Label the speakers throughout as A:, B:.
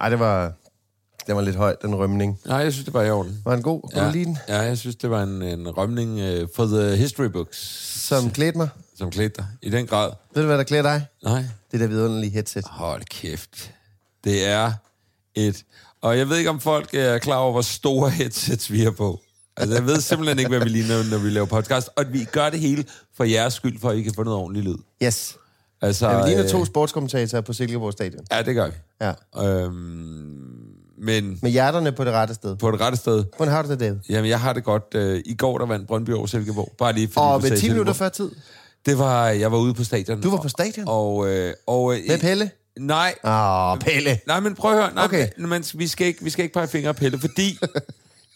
A: Ej, det var, den var lidt høj, den rømning.
B: Nej, jeg synes, det var i orden.
A: Var den god? Kunne ja. du lide den?
B: ja, jeg synes, det var en, en rømning uh, for the history books,
A: Som klædte mig.
B: som klædte dig. I den grad.
A: Ved du, hvad der klæder dig?
B: Nej,
A: Det der vidunderlige headset.
B: hold kæft. Det er et... Og jeg ved ikke, om folk er klar over, hvor store headsets vi er på. Altså, jeg ved simpelthen ikke, hvad vi ligner, når vi laver podcast. Og vi gør det hele for jeres skyld, for at I kan få noget ordentligt lyd.
A: Yes.
B: Altså,
A: Ja, vi ligner
B: øh,
A: to sportskommentatorer på Silkeborg Stadion.
B: Ja, det gør vi.
A: Ja.
B: Øhm, men
A: Med hjerterne på det rette sted.
B: på det rette sted,
A: Hvordan har du det, David?
B: Jamen, jeg har det godt. Øh, I går, der vandt Brøndby over Silkeborg. Bare lige fordi
A: Og
B: du sagde
A: med 10 minutter
B: Silkeborg.
A: før tid.
B: Det var, jeg var ude på stadion.
A: Du var på stadion?
B: Og, øh, og, øh,
A: Med Pelle?
B: Nej.
A: Åh, Pelle.
B: Nej, men prøv at høre. Nej,
A: Okay.
B: men, men, vi, skal ikke, vi skal ikke pege fingre af Pelle, fordi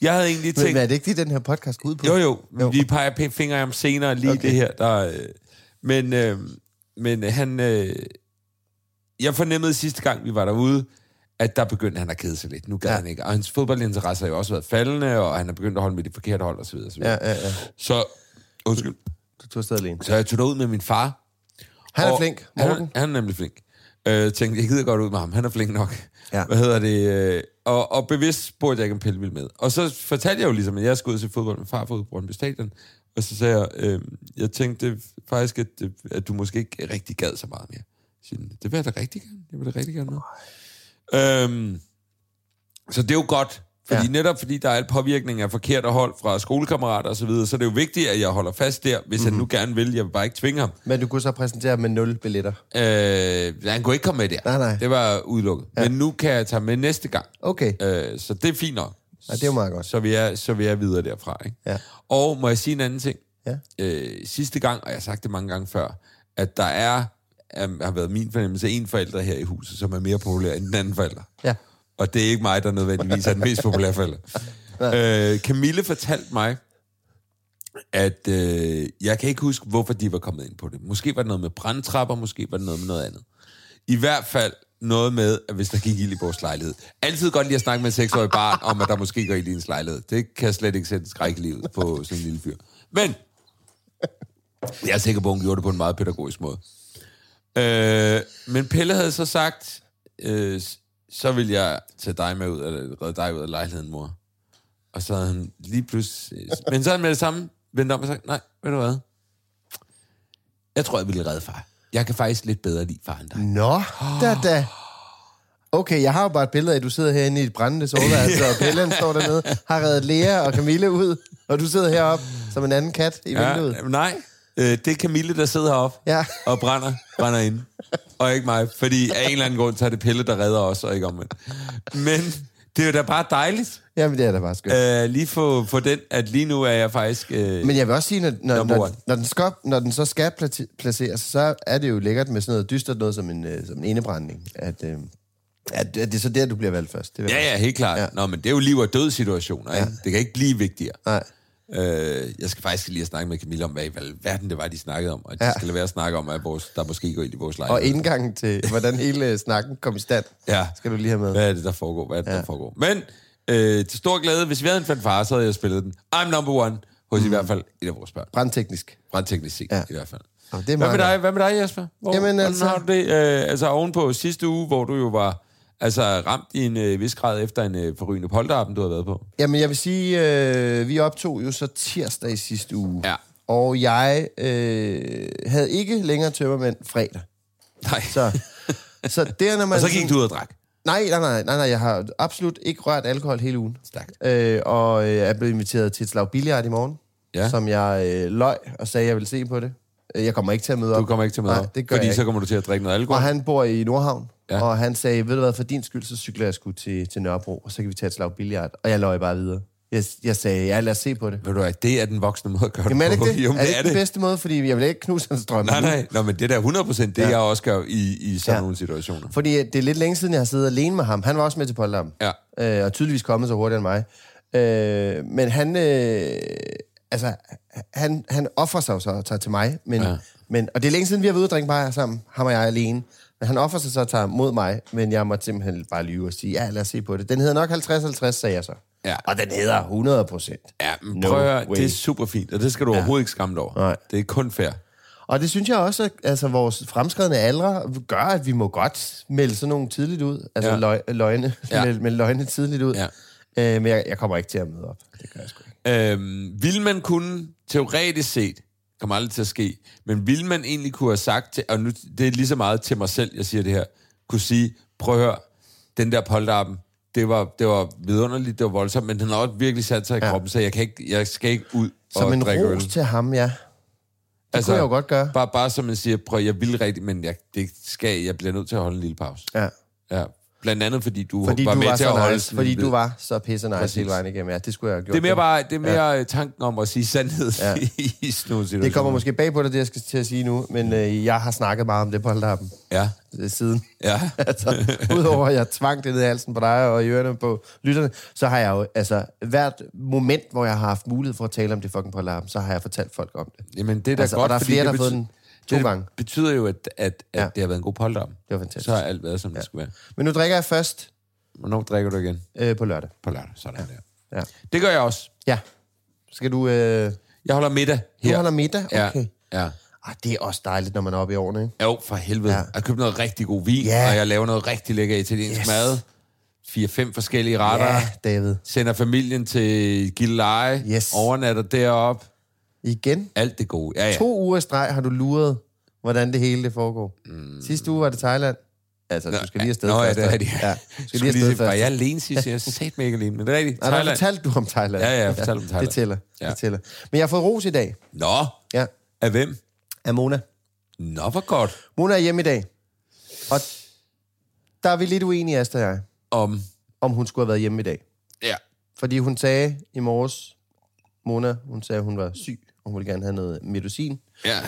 B: jeg havde egentlig
A: Men
B: tænkt...
A: hvad er det ikke det, den her podcast går ud på?
B: Jo, jo, jo. Vi peger pe- fingre om senere lige okay. det her. Der, øh, men øh, men øh, han... Øh, jeg fornemmede sidste gang, vi var derude, at der begyndte han at kede sig lidt. Nu gad ja.
A: Ja.
B: han ikke. Og hans fodboldinteresse har jo også været faldende, og han er begyndt at holde med de forkerte hold osv. osv.
A: Ja, ja, ja.
B: Så, undskyld.
A: Du tog afsted alene.
B: Så jeg tog derud med min far,
A: Han er
B: og-
A: flink.
B: Han,
A: Morten.
B: han er nemlig flink. Øh, tænkte, jeg gider godt ud med ham. Han er flink nok.
A: Ja.
B: Hvad hedder det? øh, Og, og bevidst spurgte jeg ikke, om Pelle ville med. Og så fortalte jeg jo ligesom, at jeg skulle ud til fodbold med far på Brøndby Stadion. Og så sagde jeg, øh, jeg tænkte faktisk, at, øh, at du måske ikke rigtig gad så meget mere. Så siger han, det vil jeg da rigtig gerne. Jeg vil da rigtig gerne med. Øhm, så det er jo godt. Fordi ja.
A: Ja.
B: netop fordi der er en påvirkning af forkerte hold fra skolekammerater og så videre, så er det jo vigtigt, at jeg holder fast der, hvis
A: Mhm.
B: mm-hmm. han nu gerne vil. Jeg vil bare ikke tvinge ham.
A: Men du kunne så præsentere med nul billetter.
B: Øh, han kunne ikke komme med der.
A: Nej, nej.
B: Det var udelukket. Ja. Men nu kan jeg tage med næste gang.
A: Okay.
B: Øh, så det er fint nok.
A: Ja, det er jo meget godt.
B: Så vi er, så vi er videre derfra. Ikke?
A: Ja.
B: Og må jeg sige en anden ting?
A: Ja.
B: Øh, sidste gang, og jeg har sagt det mange gange før, at der er, um, har været min fornemmelse, en forælder her i huset, som er mere populær end den anden forælder.
A: Ja.
B: Og det er ikke mig, der nødvendigvis er den mest populære forælder. Øh, Camille fortalte mig, at øh, jeg kan ikke huske, hvorfor de var kommet ind på det. Måske var det noget med brandtrapper, måske var det noget med noget andet. I hvert fald noget med, at hvis der gik ild i vores lejlighed. Altid godt lige at snakke med et seksårig barn om, at der måske går ild i ens lejlighed. Det kan jeg slet ikke sætte skræk i livet på sådan en lille fyr. Men jeg er sikker på, at hun gjorde det på en meget pædagogisk måde. Øh, men Pelle havde så sagt, øh, s- så vil jeg tage dig med ud, eller redde dig ud af lejligheden, mor. Og så havde han lige pludselig... Men så havde han med det samme vendt om og sagt, nej, ved du hvad? Jeg tror, jeg ville redde far. Jeg kan faktisk lidt bedre lide far end dig.
A: Nå, da da. Okay, jeg har jo bare et billede af, at du sidder herinde i et brændende soveværelse, og Pelle han står dernede, har reddet Lea og Camille ud, og du sidder heroppe som en anden kat i ja. vinduet.
B: jamen, nej, øh, det er Camille, der sidder heroppe
A: Ja.
B: og brænder, brænder inde. Og ikke mig, fordi af en eller anden grund, så er det Pelle, der redder os, og ikke omvendt. Men det er jo da bare dejligt.
A: Jamen, det er da bare skønt.
B: Øh, lige få, få den, at lige nu er jeg faktisk... Øh,
A: Men jeg vil også sige, når, når,
B: Number
A: når,
B: one.
A: når, den, skal, når den så skal plati- placeres, så er det jo lækkert med sådan noget dystert noget som en, øh, som en indebrænding. At, øh, Ja, det er det så der, du bliver valgt først. Det vil jeg
B: Ja, ja, helt klart. Ja. Nå, men det er jo liv og død situationer, ja. Det kan ikke blive vigtigere.
A: Nej.
B: Øh, jeg skal faktisk lige have snakket med Camilla om, hvad i verden det var, de snakkede om. Og de ja.
A: Ja.
B: skal lade være at snakke om, at vores, der måske går ind i vores lejlighed.
A: Og indgangen til, hvordan hele øh, snakken kom i stand,
B: Ja. Øh.
A: skal du lige have med.
B: Hvad er det, der foregår? Hvad er det, ja. der foregår? Men øh, til stor glæde, hvis vi havde en fanfare, så havde jeg spillet den. I'm number one hos mm. i hvert fald et af vores børn.
A: Brandteknisk.
B: Brandteknisk set, ja.
A: Ja.
B: i hvert fald.
A: Nå, det er
B: Hvad med
A: meget
B: dig, hvad med dig Jesper? Hvor,
A: Jamen,
B: hvordan
A: altså-
B: Har du det, øh, altså ovenpå sidste uge, hvor du jo var altså, ramt i en øh, vis grad efter en øh, forrygende polterappen, du havde været på.
A: Jamen, jeg vil sige, øh, vi optog jo så tirsdag i sidste uge.
B: Ja.
A: Og jeg øh, havde ikke længere tømmermænd fredag.
B: Nej.
A: Så, så der, når man...
B: og så gik
A: sådan-
B: du ud og drak.
A: Nej, nej, nej, nej, nej, jeg har absolut ikke rørt alkohol hele ugen.
B: Stærkt.
A: Øh, og øh, er blevet inviteret til et slag billiard i morgen,
B: Ja.
A: som jeg øh, løg og sagde, jeg ville se på det. Øh, Jeg kommer ikke til at møde op.
B: Du kommer ikke til møde,
A: Nej, det gør
B: fordi
A: jeg ikke.
B: så kommer du til at drikke noget alkohol.
A: Og han bor i Nordhavn,
B: Ja.
A: ja. og han sagde, ved du hvad, for din skyld, så cykler jeg sgu til, til Nørrebro, og så kan vi tage et slag billiard. Og jeg løj bare videre. Jeg, jeg sagde, ja, lad os se på det.
B: Ved du hvad, det er den voksne måde at gøre
A: Jamen er det
B: på.
A: ikke det?
B: Jo,
A: er
B: men
A: det ikke den bedste måde? Fordi jeg vil ikke knuse hans drømme.
B: Nej,
A: nu.
B: nej. Nå, men det er da 100% det, ja.
A: Ja.
B: jeg også gør i, i sådan ja.
A: Ja.
B: nogle situationer.
A: Fordi øh, det er lidt længe siden, jeg har siddet alene med ham. Han var også med til Polterabend.
B: Ja.
A: Øh, og tydeligvis kommet så hurtigt end mig. Øh, men han... Øh, altså, han, han offrer sig jo så og tager til mig. Men,
B: Ja.
A: ja. men, og det er længe siden, vi har været ude og drikke bajer sammen. Ham og jeg alene. Men han offrer sig så og tager mod mig. Men jeg måtte simpelthen bare lyve og sige, ja, lad os se på det. Den hedder nok 50-50, sagde jeg så.
B: Ja.
A: Og den hedder 100 procent.
B: Ja, men
A: No
B: prøv at høre,
A: way.
B: det er super fint, og det skal du ja. overhovedet ikke skamme dig over.
A: Nej.
B: Det er kun fair.
A: Og det synes jeg også, at altså, vores fremskredende aldre gør, at vi må godt melde sådan nogle tidligt ud. Altså
B: Ja.
A: ja. løg, løgne,
B: Ja.
A: ja. melde, melde løgne tidligt ud.
B: Ja.
A: Ja. Øh, men jeg, jeg kommer ikke til at møde op. Det gør jeg sgu ikke.
B: Øhm, vil man kunne, teoretisk set, kommer aldrig til at ske, men vil man egentlig kunne have sagt, til, og nu, det er lige så meget til mig selv, jeg siger det her, kunne sige, prøv at høre, den der polterappen, det var, det var vidunderligt, det var voldsomt, men den har også virkelig sat sig i kroppen, så jeg, kan ikke, jeg skal ikke ud
A: Som
B: og
A: en
B: drikke øl.
A: ros til ham, ja.
B: Det
A: kunne jeg jo godt gøre.
B: Bare, bare som man siger, prøv, jeg vil rigtigt, men jeg, det skal, jeg bliver nødt til at holde en lille pause.
A: ja.
B: Ja. Blandt andet, fordi du
A: Fordi
B: var
A: du
B: med
A: var
B: til at
A: så
B: holde...
A: nice.
B: sådan
A: Fordi
B: en-
A: du var så pisse nice
B: Præcis.
A: hele vejen igennem. Ja, det skulle jeg have gjort.
B: Det er mere, bare, det er mere ja. tanken om at sige sandhed ja.
A: Ja.
B: i sådan nogle situationer.
A: det kommer måske bag på dig, det jeg skal til at sige nu, men øh, jeg har snakket meget om det på Holdappen
B: Ja,
A: øh, siden.
B: ja.
A: altså, udover at jeg tvang det ned i halsen på dig og i ørerne på lytterne, så har jeg jo, altså, hvert moment, hvor jeg har haft mulighed for at tale om det fucking på alarm, så har jeg fortalt folk om det.
B: Jamen, det er da
A: Altså, og
B: godt,
A: der er
B: fordi
A: flere,
B: det
A: der har fået
B: bety-
A: den to
B: det
A: gange.
B: betyder jo, at, at, at ja.
A: Ja.
B: det har været en god polterappen.
A: Det var fantastisk.
B: Så har alt været, som ja. det skulle være.
A: Men nu drikker jeg først
B: Hvornår drikker du igen?
A: øh, på lørdag.
B: På lørdag. Sådan ja. der.
A: Ja.
B: Det gør jeg også.
A: ja. Skal du... Øh,
B: Jeg holder middag
A: du
B: her.
A: holder middag? Okay.
B: Ja. ja.
A: Ah, det er også dejligt, når man er oppe i årene, ikke?
B: Jo, for helvede. Ja.
A: Ja.
B: Jeg købte noget rigtig god vin,
A: Ja.
B: og jeg laver noget rigtig lækker italiensk
A: Yes.
B: yes. mad. 4-5 forskellige retter. Ja.
A: David.
B: Sender familien til Gilleleje.
A: Yes.
B: Overnatter derop.
A: Igen?
B: Alt det gode. Ja, ja.
A: To uger i streg har du luret, hvordan det hele det foregår. Mm. Sidste uge var det Thailand. Altså, du skal lige afsted
B: Nå,
A: først.
B: ja, det er
A: og-
B: det.
A: Ja,
B: Du
A: du
B: skal
A: skal
B: lige
A: lige afsted
B: se, var
A: først.
B: jeg alene sidst? Jeg sagde mig ikke alene, men det er rigtigt.
A: Nej, der
B: Thailand.
A: fortalte du om Thailand.
B: Ja, ja, jeg fortalte om Thailand.
A: Det tæller.
B: Ja.
A: Det tæller. Men jeg har fået ros i dag.
B: Nå,
A: Ja,
B: af hvem?
A: af Mona.
B: Nå, hvor godt.
A: Mona er hjemme i dag. Og der er vi lidt uenige, Asta og jeg,
B: Om,
A: om hun skulle have været hjemme i dag.
B: ja,
A: Fordi hun sagde i morges, Mona, hun sagde, at hun var syg, og hun ville gerne have noget medicin.
B: ja.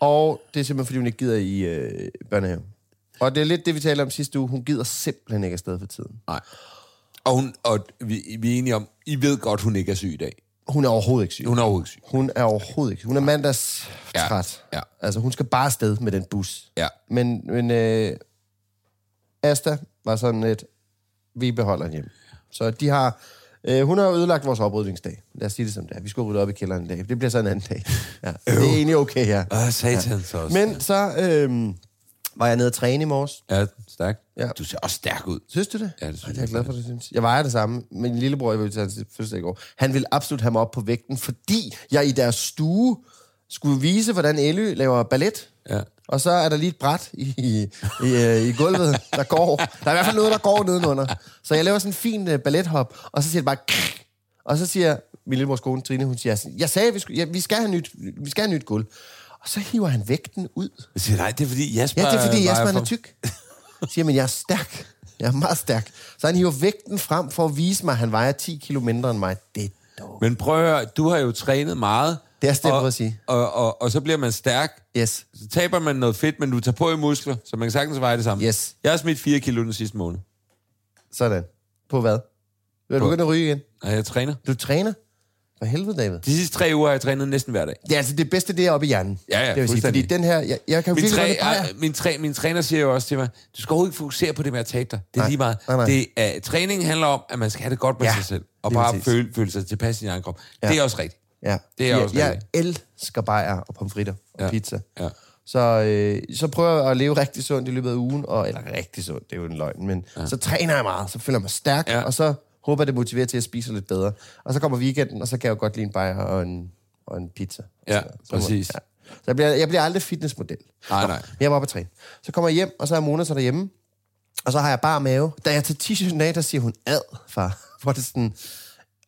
A: Og det er simpelthen, fordi hun ikke gider i øh, børnehaven. Og det er lidt det, vi talte om sidste uge. Hun gider simpelthen ikke afsted for tiden.
B: Nej. Og, hun, og vi, vi er enige om, I ved godt, hun ikke er syg i dag.
A: Hun er overhovedet ikke syg.
B: Hun er overhovedet ikke syg.
A: Hun er overhovedet ikke. Hun er mandags
B: Ja,
A: træt.
B: ja.
A: Altså, hun skal bare afsted med den bus.
B: Ja.
A: Men, men øh, Asta var sådan lidt, vi beholder hende hjemme. Så de har, øh, hun har ødelagt vores oprydningsdag. Lad os sige det som det er. Vi skulle rydde op i kælderen i dag. Det bliver så en anden dag. Ja. Så det er egentlig okay her.
B: Åh, satans ja. også.
A: Men så øh, var jeg nede at træne i morges.
B: Ja, stærk. Ja.
A: Ja.
B: Du ser også stærk ud.
A: Synes du det?
B: Ja, det synes
A: Ej, jeg. er glad for, det synes. Jeg vejer det samme. Min lillebror, jeg ville tage til fødselsdag i går, han ville absolut have mig op på vægten, fordi jeg i deres stue skulle vise, hvordan Elly laver ballet.
B: Ja.
A: Og så er der lige et bræt i, i, i, øh, i gulvet, der går. Der er i hvert fald noget, der går nedenunder. Så jeg laver sådan en fin øh, ballethop, og så siger det bare... Krik, og så siger min lillebrors kone, Trine, hun siger, sådan, jeg sagde, vi, skulle, ja, vi, skal have nyt, vi skal have nyt gulv. Og så hiver han vægten ud.
B: Jeg siger, nej, det er fordi Jasper...
A: Ja, det er fordi,
B: vejer
A: Jasper han
B: for-
A: er tyk. Siger, men jeg er stærk. Jeg er meget stærk. Så han hiver vægten frem for at vise mig, at han vejer 10 kilo mindre end mig. Det er dog.
B: Men prøv at høre, du har jo trænet meget.
A: Det er også det, jeg
B: og-
A: prøver at sige.
B: Og, og, og så bliver man stærk.
A: Yes.
B: Så taber man noget fedt, men du tager på i muskler, så man kan sagtens veje det samme.
A: Yes.
B: Jeg har smidt 4 kilo den sidste måned.
A: Sådan. På hvad? Du er begyndt at ryge igen.
B: Nej, jeg træner.
A: Du træner? For helvede, David.
B: De sidste tre uger har jeg trænet næsten hver dag.
A: Det er altså det bedste, det er oppe i hjernen.
B: Ja, ja,
A: det vil sige, fordi
B: fuldstændig.
A: den her... Jeg, jeg kan
B: Min,
A: virkelig
B: træ,
A: godt lide bajer.
B: er, min, træ, min træner siger jo også til mig, du skal overhovedet ikke fokusere på det med at tabe dig. Det er
A: Nej,
B: lige meget.
A: nej, nej.
B: Det er, træningen handler om, at man skal have det godt med
A: Ja,
B: sig selv. Og
A: lige
B: bare
A: præcis.
B: føle, føle sig tilpas i sin egen krop. Ja. Det er også rigtigt.
A: Ja.
B: Det er
A: jeg,
B: også
A: jeg
B: rigtig.
A: elsker bajer og pomfritter og
B: Ja.
A: pizza.
B: Ja.
A: Så, øh, så prøver jeg at leve rigtig sundt i løbet af ugen, og, eller rigtig sundt, det er jo en løgn, men ja. så træner jeg meget, så føler jeg mig stærk,
B: Ja.
A: ja. og så håber jeg, det motiverer til at spise lidt bedre. Og så kommer weekenden, og så kan jeg jo godt lide en bajer og en, og en pizza.
B: Ja,
A: Så- så,
B: præcis.
A: Ja. Så jeg bliver, jeg bliver aldrig fitnessmodel.
B: Nej,
A: Nå,
B: nej.
A: Jeg var oppe at træne. Så kommer jeg hjem, og så er Mona så derhjemme, og så har jeg bare mave. Da jeg tager t-shirten af, der siger hun, ad, far. Hvor det er sådan,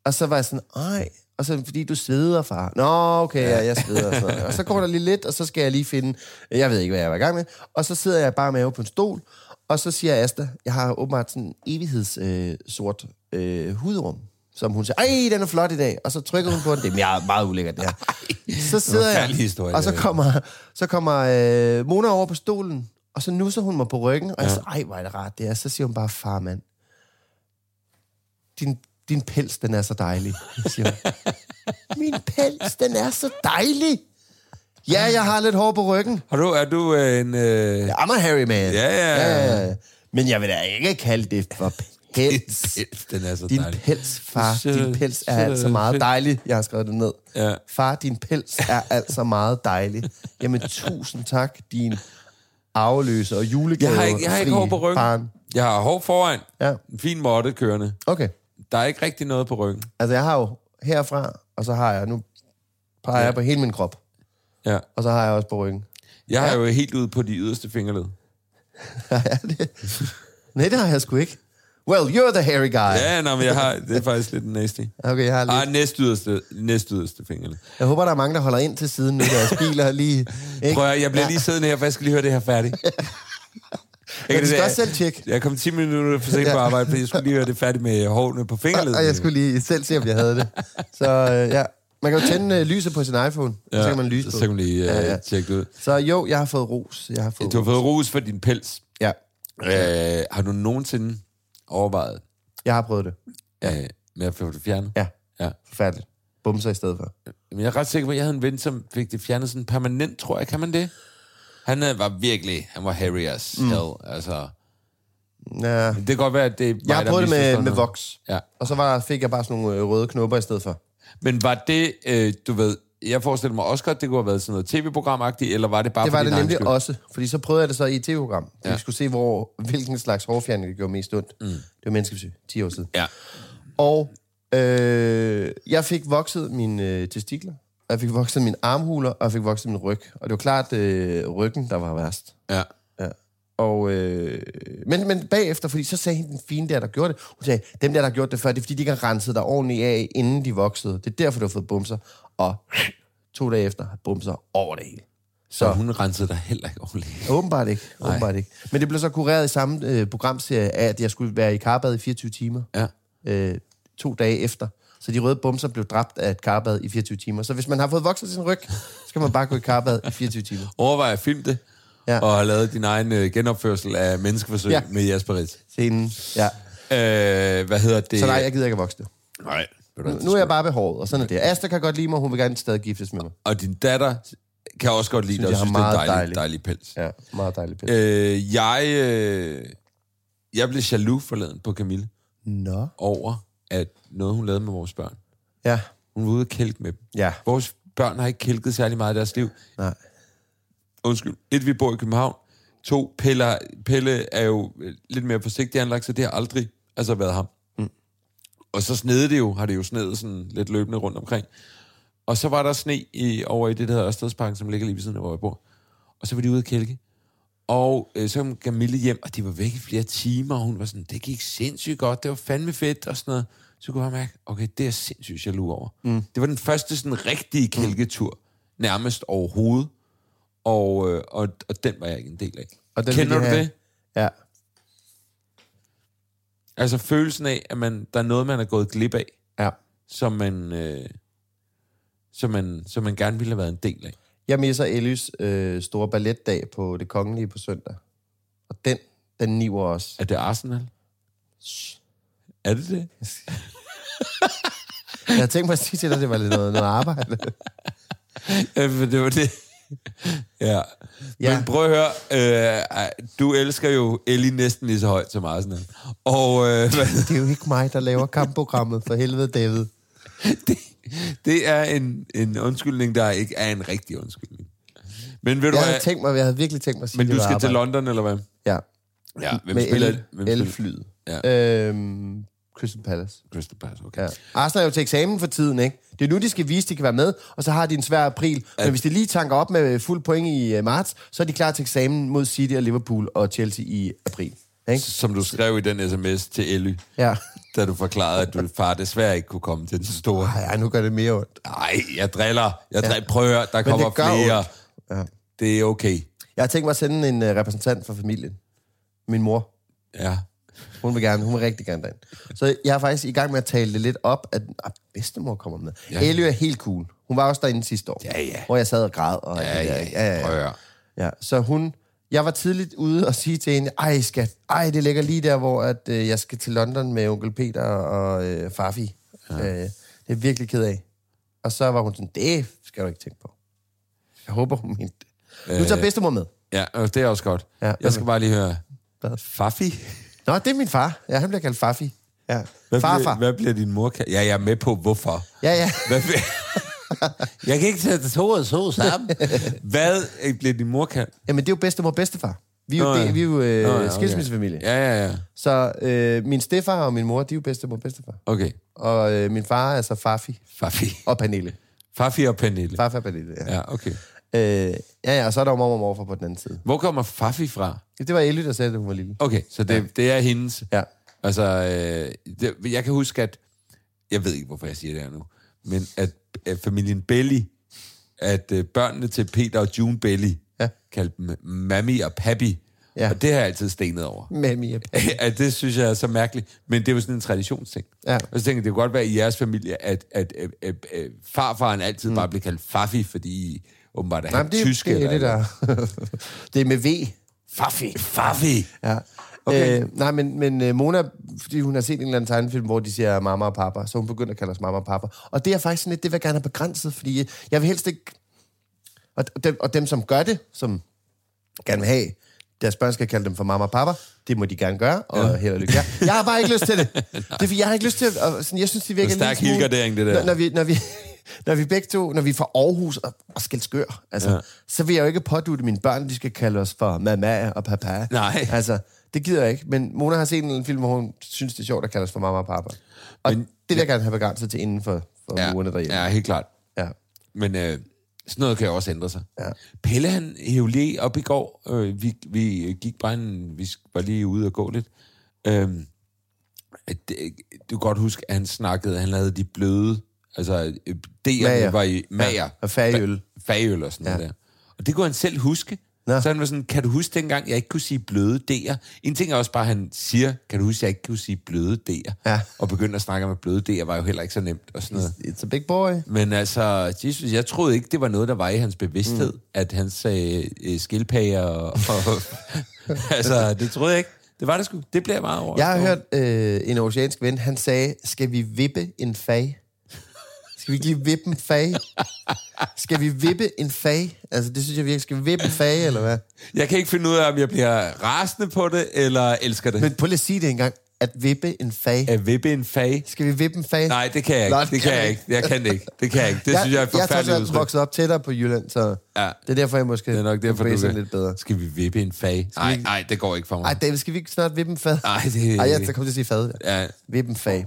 A: og så var jeg sådan, ej, og så fordi du sveder, far. Nå, okay, ja, jeg sveder. Og, sådan noget. og så går der lige lidt, og så skal jeg lige finde, jeg ved ikke, hvad jeg var i gang med. Og så sidder jeg bare mave på en stol, og så siger Asta, jeg har åbenbart sådan en evighedssort øh, sort, øh, hudrum, som hun siger, ej, den er flot i dag. Og så trykker hun på den. Det er meget, meget ulækkert, det her. Så sidder jeg,
B: forfærdelig historie,
A: og så
B: det der.
A: kommer, så kommer øh, Mona over på stolen, og så nusser hun mig på ryggen, og jeg siger, ej, hvor er det rart det er. Så siger hun bare, far, mand, din, din pels, den er så dejlig, siger hun. Min pels, den er så dejlig. Ja, jeg har lidt hår på ryggen.
B: Har du, er du øh, en... Øh, ja.
A: I'm a hairy man.
B: Ja, ja, ja.
A: Men jeg vil da ikke kalde det for pels.
B: Den er så
A: Din
B: dejlig.
A: pels, far,
B: Så-
A: din pels er
B: så-
A: altså meget
B: fedt.
A: dejlig. Jeg har skrevet det ned.
B: Ja.
A: Far, din pels er altså meget dejlig. Jamen, tusind tak, din arveløse og julegave.
B: Jeg har ikke, jeg har ikke hår på ryggen.
A: Barn.
B: Jeg har hår foran.
A: Ja.
B: En fin måtte kørende.
A: Okay,
B: Der er ikke rigtig noget på ryggen.
A: altså jeg har jo herfra, og så har jeg, nu peger jeg på hele min krop,
B: Ja.
A: og så har jeg også på ryggen.
B: Jeg har jo helt ud på de yderste fingerled.
A: Er det? Nej, det har jeg sgu ikke. Well, you're the hairy guy.
B: Ja, nå, men jeg har, det er faktisk lidt nasty.
A: Okay, jeg har lidt.
B: Ej, næst yderste, næst yderste fingerled.
A: Jeg håber, der er mange, der holder ind til siden nu, deres biler lige... Ikke?
B: Prøv at, høre, jeg bliver lige siddende her, for jeg skal lige høre det her færdigt. Jeg, kan
A: Men du
B: det
A: skal
B: der-
A: også selv tjekke.
B: Jeg kom 10 minutter for sent på arbejde, fordi jeg skulle lige høre det færdigt med hårene på fingerleden.
A: Og jeg skulle lige selv se, om jeg havde det. Så øh, ja, man kan jo tænde øh, lyset på sin iPhone, ja, så kan man lyse på.
B: Så kan man lige uh,
A: Ja,
B: ja,
A: ja.
B: tjekke det ud.
A: Så jo, jeg har fået ros. Jeg har fået
B: Du har
A: ros.
B: fået rus for din pels.
A: Ja,
B: Øh, har du nogensinde overvejet
A: jeg har prøvet det.
B: øh, med at få det fjernet?
A: Ja,
B: ja.
A: forfærdeligt. Bumser i stedet for.
B: Men jeg er ret sikker på, at jeg havde en ven, som fik det fjernet sådan permanent, tror jeg. Kan man det? Han øh, var virkelig, han var hairy as
A: Mm.
B: hell. Altså,
A: Ja.
B: det kan godt være, at det er mig,
A: Jeg har
B: der
A: prøvet det med,
B: misforstår
A: med
B: noget.
A: voks.
B: Ja. Ah,
A: Og så var, fik jeg bare sådan nogle øh, røde knopper i stedet for.
B: Men var det, øh, du ved, jeg forestiller mig også godt, det kunne have været sådan noget tv-programagtigt, eller var det bare
A: Det var
B: for
A: det
B: din egen
A: nemlig
B: skyld?
A: også, fordi så prøvede jeg det så i et tv-program. fordi Vi skulle se, hvor, hvilken slags hårfjerning det gjorde mest ondt. Mm. Det var menneskesyg, 10 år siden.
B: Ja.
A: Og øh, jeg fik vokset mine øh, testikler, og jeg fik vokset mine armhuler, og jeg fik vokset min ryg. Og det var klart øh, ryggen, der var værst.
B: ja.
A: Ja. Og, øh, men, men bagefter, fordi så sagde hende den fine der, der gjorde det, hun sagde, dem der, der gjorde det før, det er fordi, de ikke har renset dig ordentligt af, inden de voksede. Det er derfor, du har fået bumser. Og to dage efter har bumser over det hele.
B: Så hun rensede dig heller ikke ordentligt.
A: Åbenbart ikke. Åbenbart ikke. Men det blev så kureret i samme øh, programserie af, at jeg skulle være i karbad i 24 timer.
B: Ja.
A: Øh, to dage efter. Så de røde bumser blev dræbt af et karbad i 24 timer. Så hvis man har fået vokset sin ryg, så skal man bare gå i karbad i 24 timer.
B: Overvej at filme det, ja.
A: Ja.
B: og have lavet din egen øh, genopførsel af menneskeforsøg ja.
A: Ja.
B: med Jasper Ritz.
A: Scenen. Ja.
B: Øh, hvad hedder det?
A: Så nej, jeg gider ikke at vokse det.
B: Nej. ved du hvad, det
A: Nu er
B: skal-
A: jeg bare behåret, og sådan er det. Asta kan godt lide mig, hun vil gerne stadig giftes med mig.
B: Og din datter kan også godt lide
A: Synes,
B: dig,
A: jeg
B: og synes,
A: har
B: det er
A: meget
B: dejlig, dejlig.
A: dejlig.
B: dejlig pels. Ja.
A: Ja, meget dejlig pille.
B: Øh, jeg, øh, jeg blev jaloux forleden på Camille
A: Nå.
B: over, at noget hun lavede med vores børn.
A: Ja.
B: Hun var ude og kælke med dem.
A: Ja.
B: Vores børn har ikke kælket særlig meget i deres liv.
A: Nej.
B: Undskyld. Et, vi bor i København. To, Pelle, Pelle er jo øh, lidt mere forsigtig anlagt, så det har aldrig altså, været ham. Mm. Og så snede det jo, har det jo snedet sådan lidt løbende rundt omkring. Og så var der sne i, over i det, der hedder Ørstedsparken, som ligger lige ved siden af, hvor jeg bor. Og så var de ude at kælke. Og øh, så kom Camille hjem, og de var væk i flere timer, og hun var sådan, det gik sindssygt godt, det var fandme fedt, og sådan noget. Så kunne jeg mærke, okay, det er jeg sindssygt jaloux over. Mm. Det var den første sådan rigtige
A: Mm.
B: kælketur, nærmest overhovedet. Og, øh, og, og den var jeg ikke en del af.
A: Og den
B: Kender
A: vil
B: du
A: de have.
B: det?
A: Ja.
B: Altså følelsen af, at man, der er noget, man er gået glip af,
A: Ja.
B: som man, øh, som man, som man gerne ville have været en del af.
A: Jeg misser Ellys øh, store balletdag på det kongelige på søndag. Og den, den niver også.
B: Er det Arsenal? Er det det?
A: Jeg havde tænkt mig at sige til dig, at det var lidt noget, noget arbejde.
B: Ja, for det var det. ja. ja.
A: Ja.
B: Men prøv at høre, øh, ej, du elsker jo Ellie næsten lige så højt som Arsenal. Og øh, hvad-
A: Det er jo ikke mig, der laver kampprogrammet. For helvede, David.
B: det, det er en, en undskyldning, der ikke er en rigtig undskyldning. Men ved du
A: Jeg havde
B: hvad,
A: tænkt mig, jeg havde virkelig tænkt mig at sige,
B: men
A: det
B: du
A: var
B: skal til
A: arbejde.
B: London, eller hvad?
A: Ja,
B: Ja, hvem
A: med
B: spiller...
A: el,
B: hvem spiller-
A: elflyet.
B: Ja.
A: Øhm, Crystal Palace.
B: Crystal Palace, okay.
A: Ja. Arsenal er jo til eksamen for tiden, ikke? Det er nu, de skal vise, de kan være med, og så har de en svær april. Men hvis de lige tanker op med fuld point i øh, marts, så er de klar til eksamen mod City og Liverpool og Chelsea i april. Ikke?
B: Som du skrev i den sms til Elly,
A: Ja.
B: da du forklarede, at du far desværre ikke kunne komme til den store.
A: Ej, ej, nu gør det mere ondt.
B: Nej, jeg driller. Jeg driller. Prøv at høre, der
A: Men
B: kommer
A: det gør
B: flere.
A: ondt. Ja.
B: Det er okay.
A: Jeg har tænkt mig at sende en uh, repræsentant for familien. Min mor.
B: Ja.
A: Hun vil gerne, hun vil rigtig gerne derind. Så jeg er faktisk i gang med at tale det lidt op, at ah, bedstemor kommer med. Ja. Elly er helt cool. Hun var også derinde sidste år.
B: Ja, ja.
A: Hvor jeg sad og græd. Og ja,
B: Prøv at høre.
A: Ja, så hun... Jeg var tidligt ude og sige til hende, ej skat, ej det ligger lige der, hvor at, øh, jeg skal til London med onkel Peter og øh, Fafi. Ja. Øh, det er jeg virkelig ked af. Og så var hun sådan, det skal du ikke tænke på. Jeg håber, hun mente det. Nu tager bedstemor med.
B: Ja, øh, det er også godt.
A: Ja.
B: jeg skal bare lige høre.
A: Hvad?
B: Fafi?
A: Nå, det er min far. Ja, han bliver kaldt Fafi. Ja.
B: Hvad
A: Farfar.
B: Bliver, hvad bliver din mor kaldt? Ja, jeg er med på, hvorfor.
A: Ja, ja.
B: Hvad bliver... jeg kan ikke tage to og så sammen. Hvad øh, bliver din mor kaldt?
A: Jamen, det er jo bedstemor og bedstefar. Vi er jo,
B: Nå, ja.
A: det, vi er jo øh,
B: Nå, ja, okay.
A: skilsmissefamilie.
B: Ja, ja, ja.
A: Så øh, min stefar og min mor, de er jo bedstemor og bedstefar.
B: Okay.
A: Og øh, min far er så Fafi
B: Fafi.
A: og Pernille.
B: Fafi og Pernille.
A: Farfar og Pernille, ja.
B: Ja, okay.
A: Øh, ja, ja, og så er der jo mormor og morfar på den anden side.
B: Hvor kommer Fafi fra?
A: Det var Elly, der sagde, at hun var lille.
B: Okay, så det, ja. det er hendes.
A: Ja.
B: Altså, øh, det, jeg kan huske, at... Jeg ved ikke, hvorfor jeg siger det her nu. Men at, at familien Belly, at øh, børnene til Peter og June Belly, ja. kaldte dem Mammy og Pappy. Ja.
A: Ja.
B: Og det har jeg altid stenet over.
A: Mami og Pernille.
B: at det synes jeg er så mærkeligt. Men det er jo sådan en traditionsting.
A: Ja.
B: Og så tænker jeg, det kunne godt være i jeres familie, at, at, at, at, at farfaren altid mm. bare blev kaldt Fafi, fordi I åbenbart er
A: Nej,
B: han
A: men det, er-
B: tysk.
A: det er
B: eller-
A: Elly, der... det er med V.
B: Fafi. Fafi.
A: Ja. Okay. Øh, nej, men, men øh, Mona, fordi hun har set en eller anden tegnefilm, hvor de siger mamma og pappa, så hun begynder at kalde os mamma og pappa. Og det er faktisk sådan lidt, det vil jeg gerne have begrænset, fordi øh, jeg vil helst ikke... Og dem, og dem, som gør det, som gerne vil have, deres børn skal kalde dem for mamma og pappa. Det må de gerne gøre, og ja. held og lykke. Jeg, jeg har bare ikke lyst til det. det er, fordi jeg har ikke lyst til at, og sådan, Jeg synes, det virker
B: En stærk
A: lille smule-
B: helgardering, det der.
A: Når, når, vi, når, vi, når vi begge to, når vi er fra Aarhus og, og skældskør, altså, ja. så vil jeg jo ikke pådute mine børn, de skal kalde os for mamma og papa.
B: Nej.
A: Altså, det gider jeg ikke. Men Mona har set en eller anden film, hvor hun synes, det er sjovt at kalde os for mamma og papa. Og men, det vil jeg gerne have begrænset til inden for, for ja, murene derhjemme.
B: ja, helt klart.
A: Ja.
B: Men øh, sådan noget kan jo også ændre sig. Ja. Pelle, han hævde lige op i går. Øh, vi, vi øh, gik bare en, vi sk- var lige ude og gå lidt. Øhm, at det, du kan godt huske, at han snakkede, han lavede de bløde, altså øh, D'erne
A: Mager.
B: var i mager.
A: Ja, og fagøl.
B: Fa- Fagøl og sådan ja. noget der. Og det kunne han selv huske. Nå.
A: Nå.
B: Så han var sådan, kan du huske dengang, jeg ikke kunne sige bløde D'er? En ting er også bare, at han siger, kan du huske, jeg ikke kunne sige bløde D'er?
A: Ja.
B: Og begynde at snakke om, at bløde D'er var jo heller ikke så nemt. Og sådan noget.
A: It's a big boy.
B: Men altså, Jesus, jeg troede ikke, det var noget, der var i hans bevidsthed, mm. at han sagde øh, skildpadder og... og altså, det troede jeg ikke. Det var det sgu. Det blev jeg meget over.
A: Jeg har hørt øh, en oceansk ven, han sagde, skal vi vippe en fag? Skal vi ikke lige vippe en fag? Skal vi vippe en fag? Altså, det synes jeg virkelig. Skal vi vippe en fag, eller hvad?
B: Jeg kan ikke finde ud af, om jeg bliver rasende på det, eller elsker det.
A: Men prøv lige at sige det engang. At vippe en fag.
B: At vippe en fag.
A: Skal vi vippe en fag?
B: Øh. Nej, det kan jeg ikke.
A: Nå,
B: det kan jeg ikke. Jeg kan det ikke. Det kan jeg ikke. Det synes jeg er et
A: Jeg er
B: forfærdeligt
A: trods alt
B: udtryk.
A: vokset op tættere på Jylland, så
B: Ja.
A: det er derfor, jeg måske
B: Det er nok derfor, du
A: kan...
B: kan.
A: lidt bedre.
B: Skal vi vippe en fag? Nej, nej, det går ikke for mig.
A: Ej, David, skal vi ikke snart vippe en fad?
B: Nej, det-
A: Ej, jeg kommer til at sige fad.
B: Ja.
A: Vippe en fag.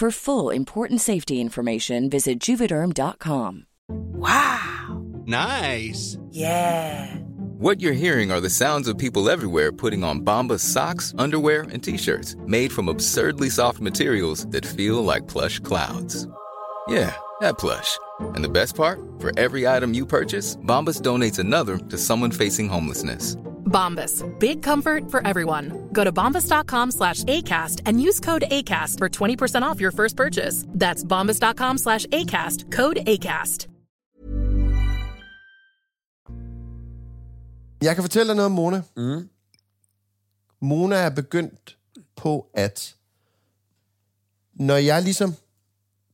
C: For full important safety information, visit juvederm.com.
D: Wow.
E: Nice.
D: Yeah.
F: What you're hearing are the sounds of people everywhere putting on Bombas socks, underwear, and t-shirts made from absurdly soft materials that feel like plush clouds. Yeah, that plush. And the best part? For every item you purchase, Bombas donates another to someone facing homelessness.
G: Bombas. Big comfort for everyone. Go to bombas.com slash ACAST and use code ACAST for 20% off your first purchase. That's bombas.com slash ACAST. Code ACAST.
A: Jeg kan fortælle dig noget om Mona. Mm. Mona er begyndt på, at når jeg ligesom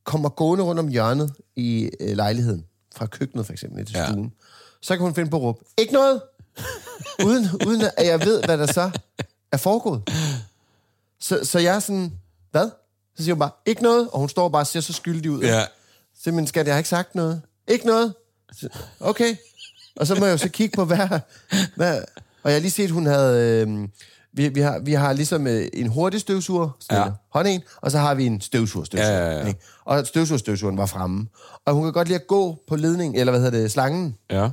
A: kommer gående rundt om hjørnet i øh, lejligheden, fra køkkenet for eksempel ned til
B: Ja.
A: ja. stuen, så kan hun finde på at råbe, ikke noget, uden, uden at jeg ved, hvad der så er foregået. Så, så jeg er sådan, hvad? Så siger hun bare, ikke noget, og hun står bare og ser så skyldig ud.
B: Ja.
A: Simpelthen, skat, jeg har ikke sagt noget. Ikke noget? Så, Okay. Og så må jeg jo så kigge på, hvad... hvad og jeg har lige set, hun havde... Øh, vi, vi, har, vi har ligesom øh, en hurtig støvsuger, sådan
B: Ja.
A: ja. hånd en, og så har vi en støvsuger, støvsuger.
B: Ja, ja, ja.
A: ikke? Og støvsugerstøvsugeren var fremme. Og hun kan godt lide at gå på ledning, eller hvad hedder det, slangen.
B: Ja.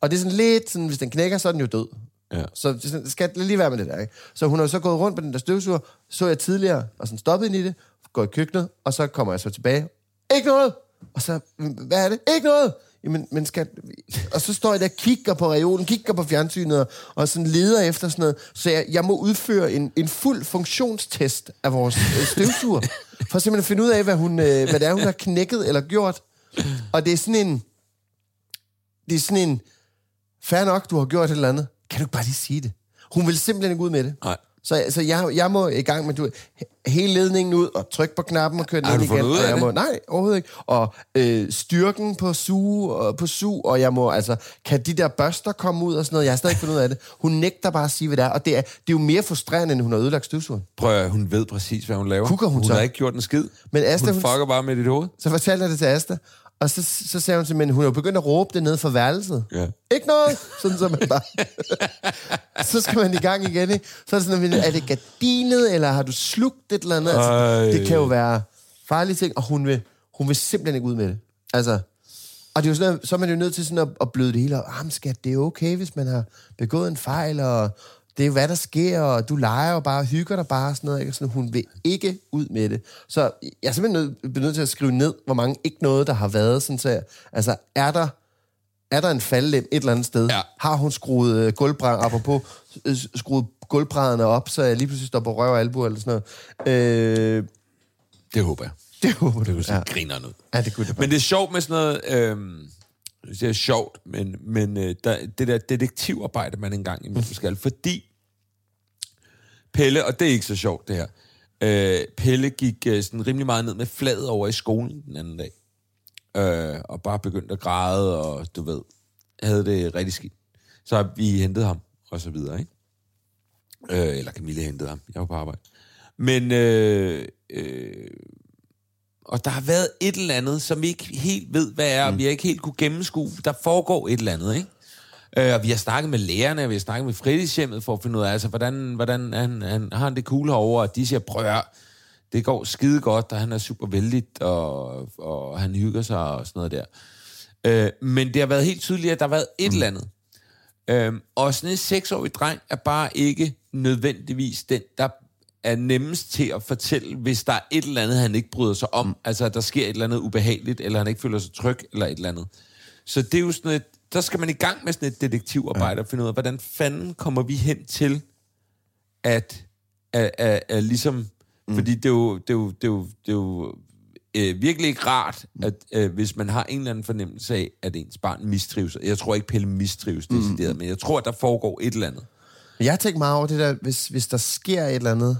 A: Og det er sådan lidt sådan, hvis den knækker, så er den jo død.
B: Ja.
A: Så det er sådan, skal det lige være med det der, ikke? Så hun har jo så gået rundt med den der støvsuger, så jeg tidligere, og sådan stoppet ind i det, går i køkkenet, og så kommer jeg så tilbage. Ikke noget! Og så, hvad er det? Ikke noget! Jamen, men skal... Og så står jeg der og kigger på reolen, kigger på fjernsynet, og- og sådan leder efter sådan noget. Så jeg, jeg må udføre en, en fuld funktionstest af vores øh, støvsuger, for simpelthen at finde ud af, hvad, hun, øh, hvad det er, hun har knækket eller gjort. Og det er sådan en... Det er sådan en fair nok, du har gjort et eller andet. Kan du ikke bare lige sige det? Hun vil simpelthen ikke ud med det.
B: Nej.
A: Så, så jeg, jeg må i gang med du, he- hele ledningen ud, og trykke på knappen og køre
B: Har
A: den
B: du
A: ind
B: fundet
A: igen.
B: ud
A: og
B: af
A: jeg
B: det?
A: Må, nej, overhovedet ikke. Og øh, styrken på suge, og, på su, og jeg må, altså, kan de der børster komme ud og sådan noget? Jeg har stadig ikke fundet ud af det. Hun nægter bare at sige, hvad det er. Og det er, det er jo mere frustrerende, end hun har ødelagt støvsugeren.
B: Prøv at høre, hun ved præcis, hvad hun laver.
A: Kukker hun
B: hun
A: så?
B: har ikke gjort en skid.
A: Men Asta,
B: hun
A: hun-
B: fucker bare med dit hoved.
A: Så fortalte jeg det til Asta, og så, så sagde hun simpelthen, hun er jo begyndt at råbe det ned fra værelset.
B: Ja.
A: Ikke noget! Sådan så man bare... så skal man i gang igen, ikke? Så er det sådan, er det gardinet, eller har du slugt et eller andet? Altså,
B: Ej.
A: det kan jo være farlige ting, og hun vil, hun vil simpelthen ikke ud med det. Altså, og det er jo sådan, noget- så er man jo nødt til sådan at, at bløde det hele op. Ah, men skat, det er okay, hvis man har begået en fejl, og det er hvad der sker, og du leger og bare og hygger dig bare og sådan noget. Ikke? Og Sådan, hun vil ikke ud med det. Så jeg er simpelthen nødt, bliver nødt til at skrive ned, hvor mange ikke noget, der har været. Sådan, så, jeg- altså, er der, er der en faldlem et eller andet sted?
B: Ja.
A: Har hun skruet øh, gulvbrænd, apropos, øh, skruet gulvbrædderne op, så jeg lige pludselig står på røv og albu eller sådan noget? Øh,
B: Det håber jeg.
A: det håber du.
B: Det
A: Ja.
B: ja. griner noget.
A: ja, det kunne det bare.
B: Men det er sjovt med sådan noget... Øh, det er sjovt, men, men øh, der, det der detektivarbejde, man engang imellem skal, fordi Pelle, og det er ikke så sjovt det her, øh, Pelle gik øh, sådan rimelig meget ned med fladet over i skolen den anden dag, øh, og bare begyndte at græde, og du ved, havde det rigtig skidt. Så vi hentede ham, og så videre, ikke? Øh, eller Camille hentede ham, jeg var på arbejde. Men øh, øh, og der har været et eller andet, som vi ikke helt ved, hvad er, og vi har ikke helt kunne gennemskue. Der foregår et eller andet, ikke? Øh, og vi har snakket med lærerne, og vi har snakket med fritidshjemmet for at finde ud af, altså, hvordan, hvordan han, han, har han det cool herovre, og de siger, prøv at høre, det går skide godt, og han er super vældig, og, og han hygger sig og sådan noget der. Øh, men det har været helt tydeligt, at der har været et eller andet. Øhm, og sådan en seksårig dreng er bare ikke nødvendigvis den, der er nemmest til at fortælle, hvis der er et eller andet, han ikke bryder sig om. Mm. Altså, at der sker et eller andet ubehageligt, eller han ikke føler sig tryg, eller et eller andet. Så det er jo sådan et, der skal man i gang med sådan et detektivarbejde ja. og finde ud af, hvordan fanden kommer vi hen til, at, at, at, at ligesom... Mm. Fordi det er jo, det er jo, det er jo, det er jo øh, virkelig ikke rart, at øh, hvis man har en eller anden fornemmelse af, at ens barn mistrives. Jeg tror ikke, Pelle mistrives decideret, men jeg tror, at der foregår et eller andet.
A: Jeg har tænkt meget over det der, hvis, hvis der sker et eller andet,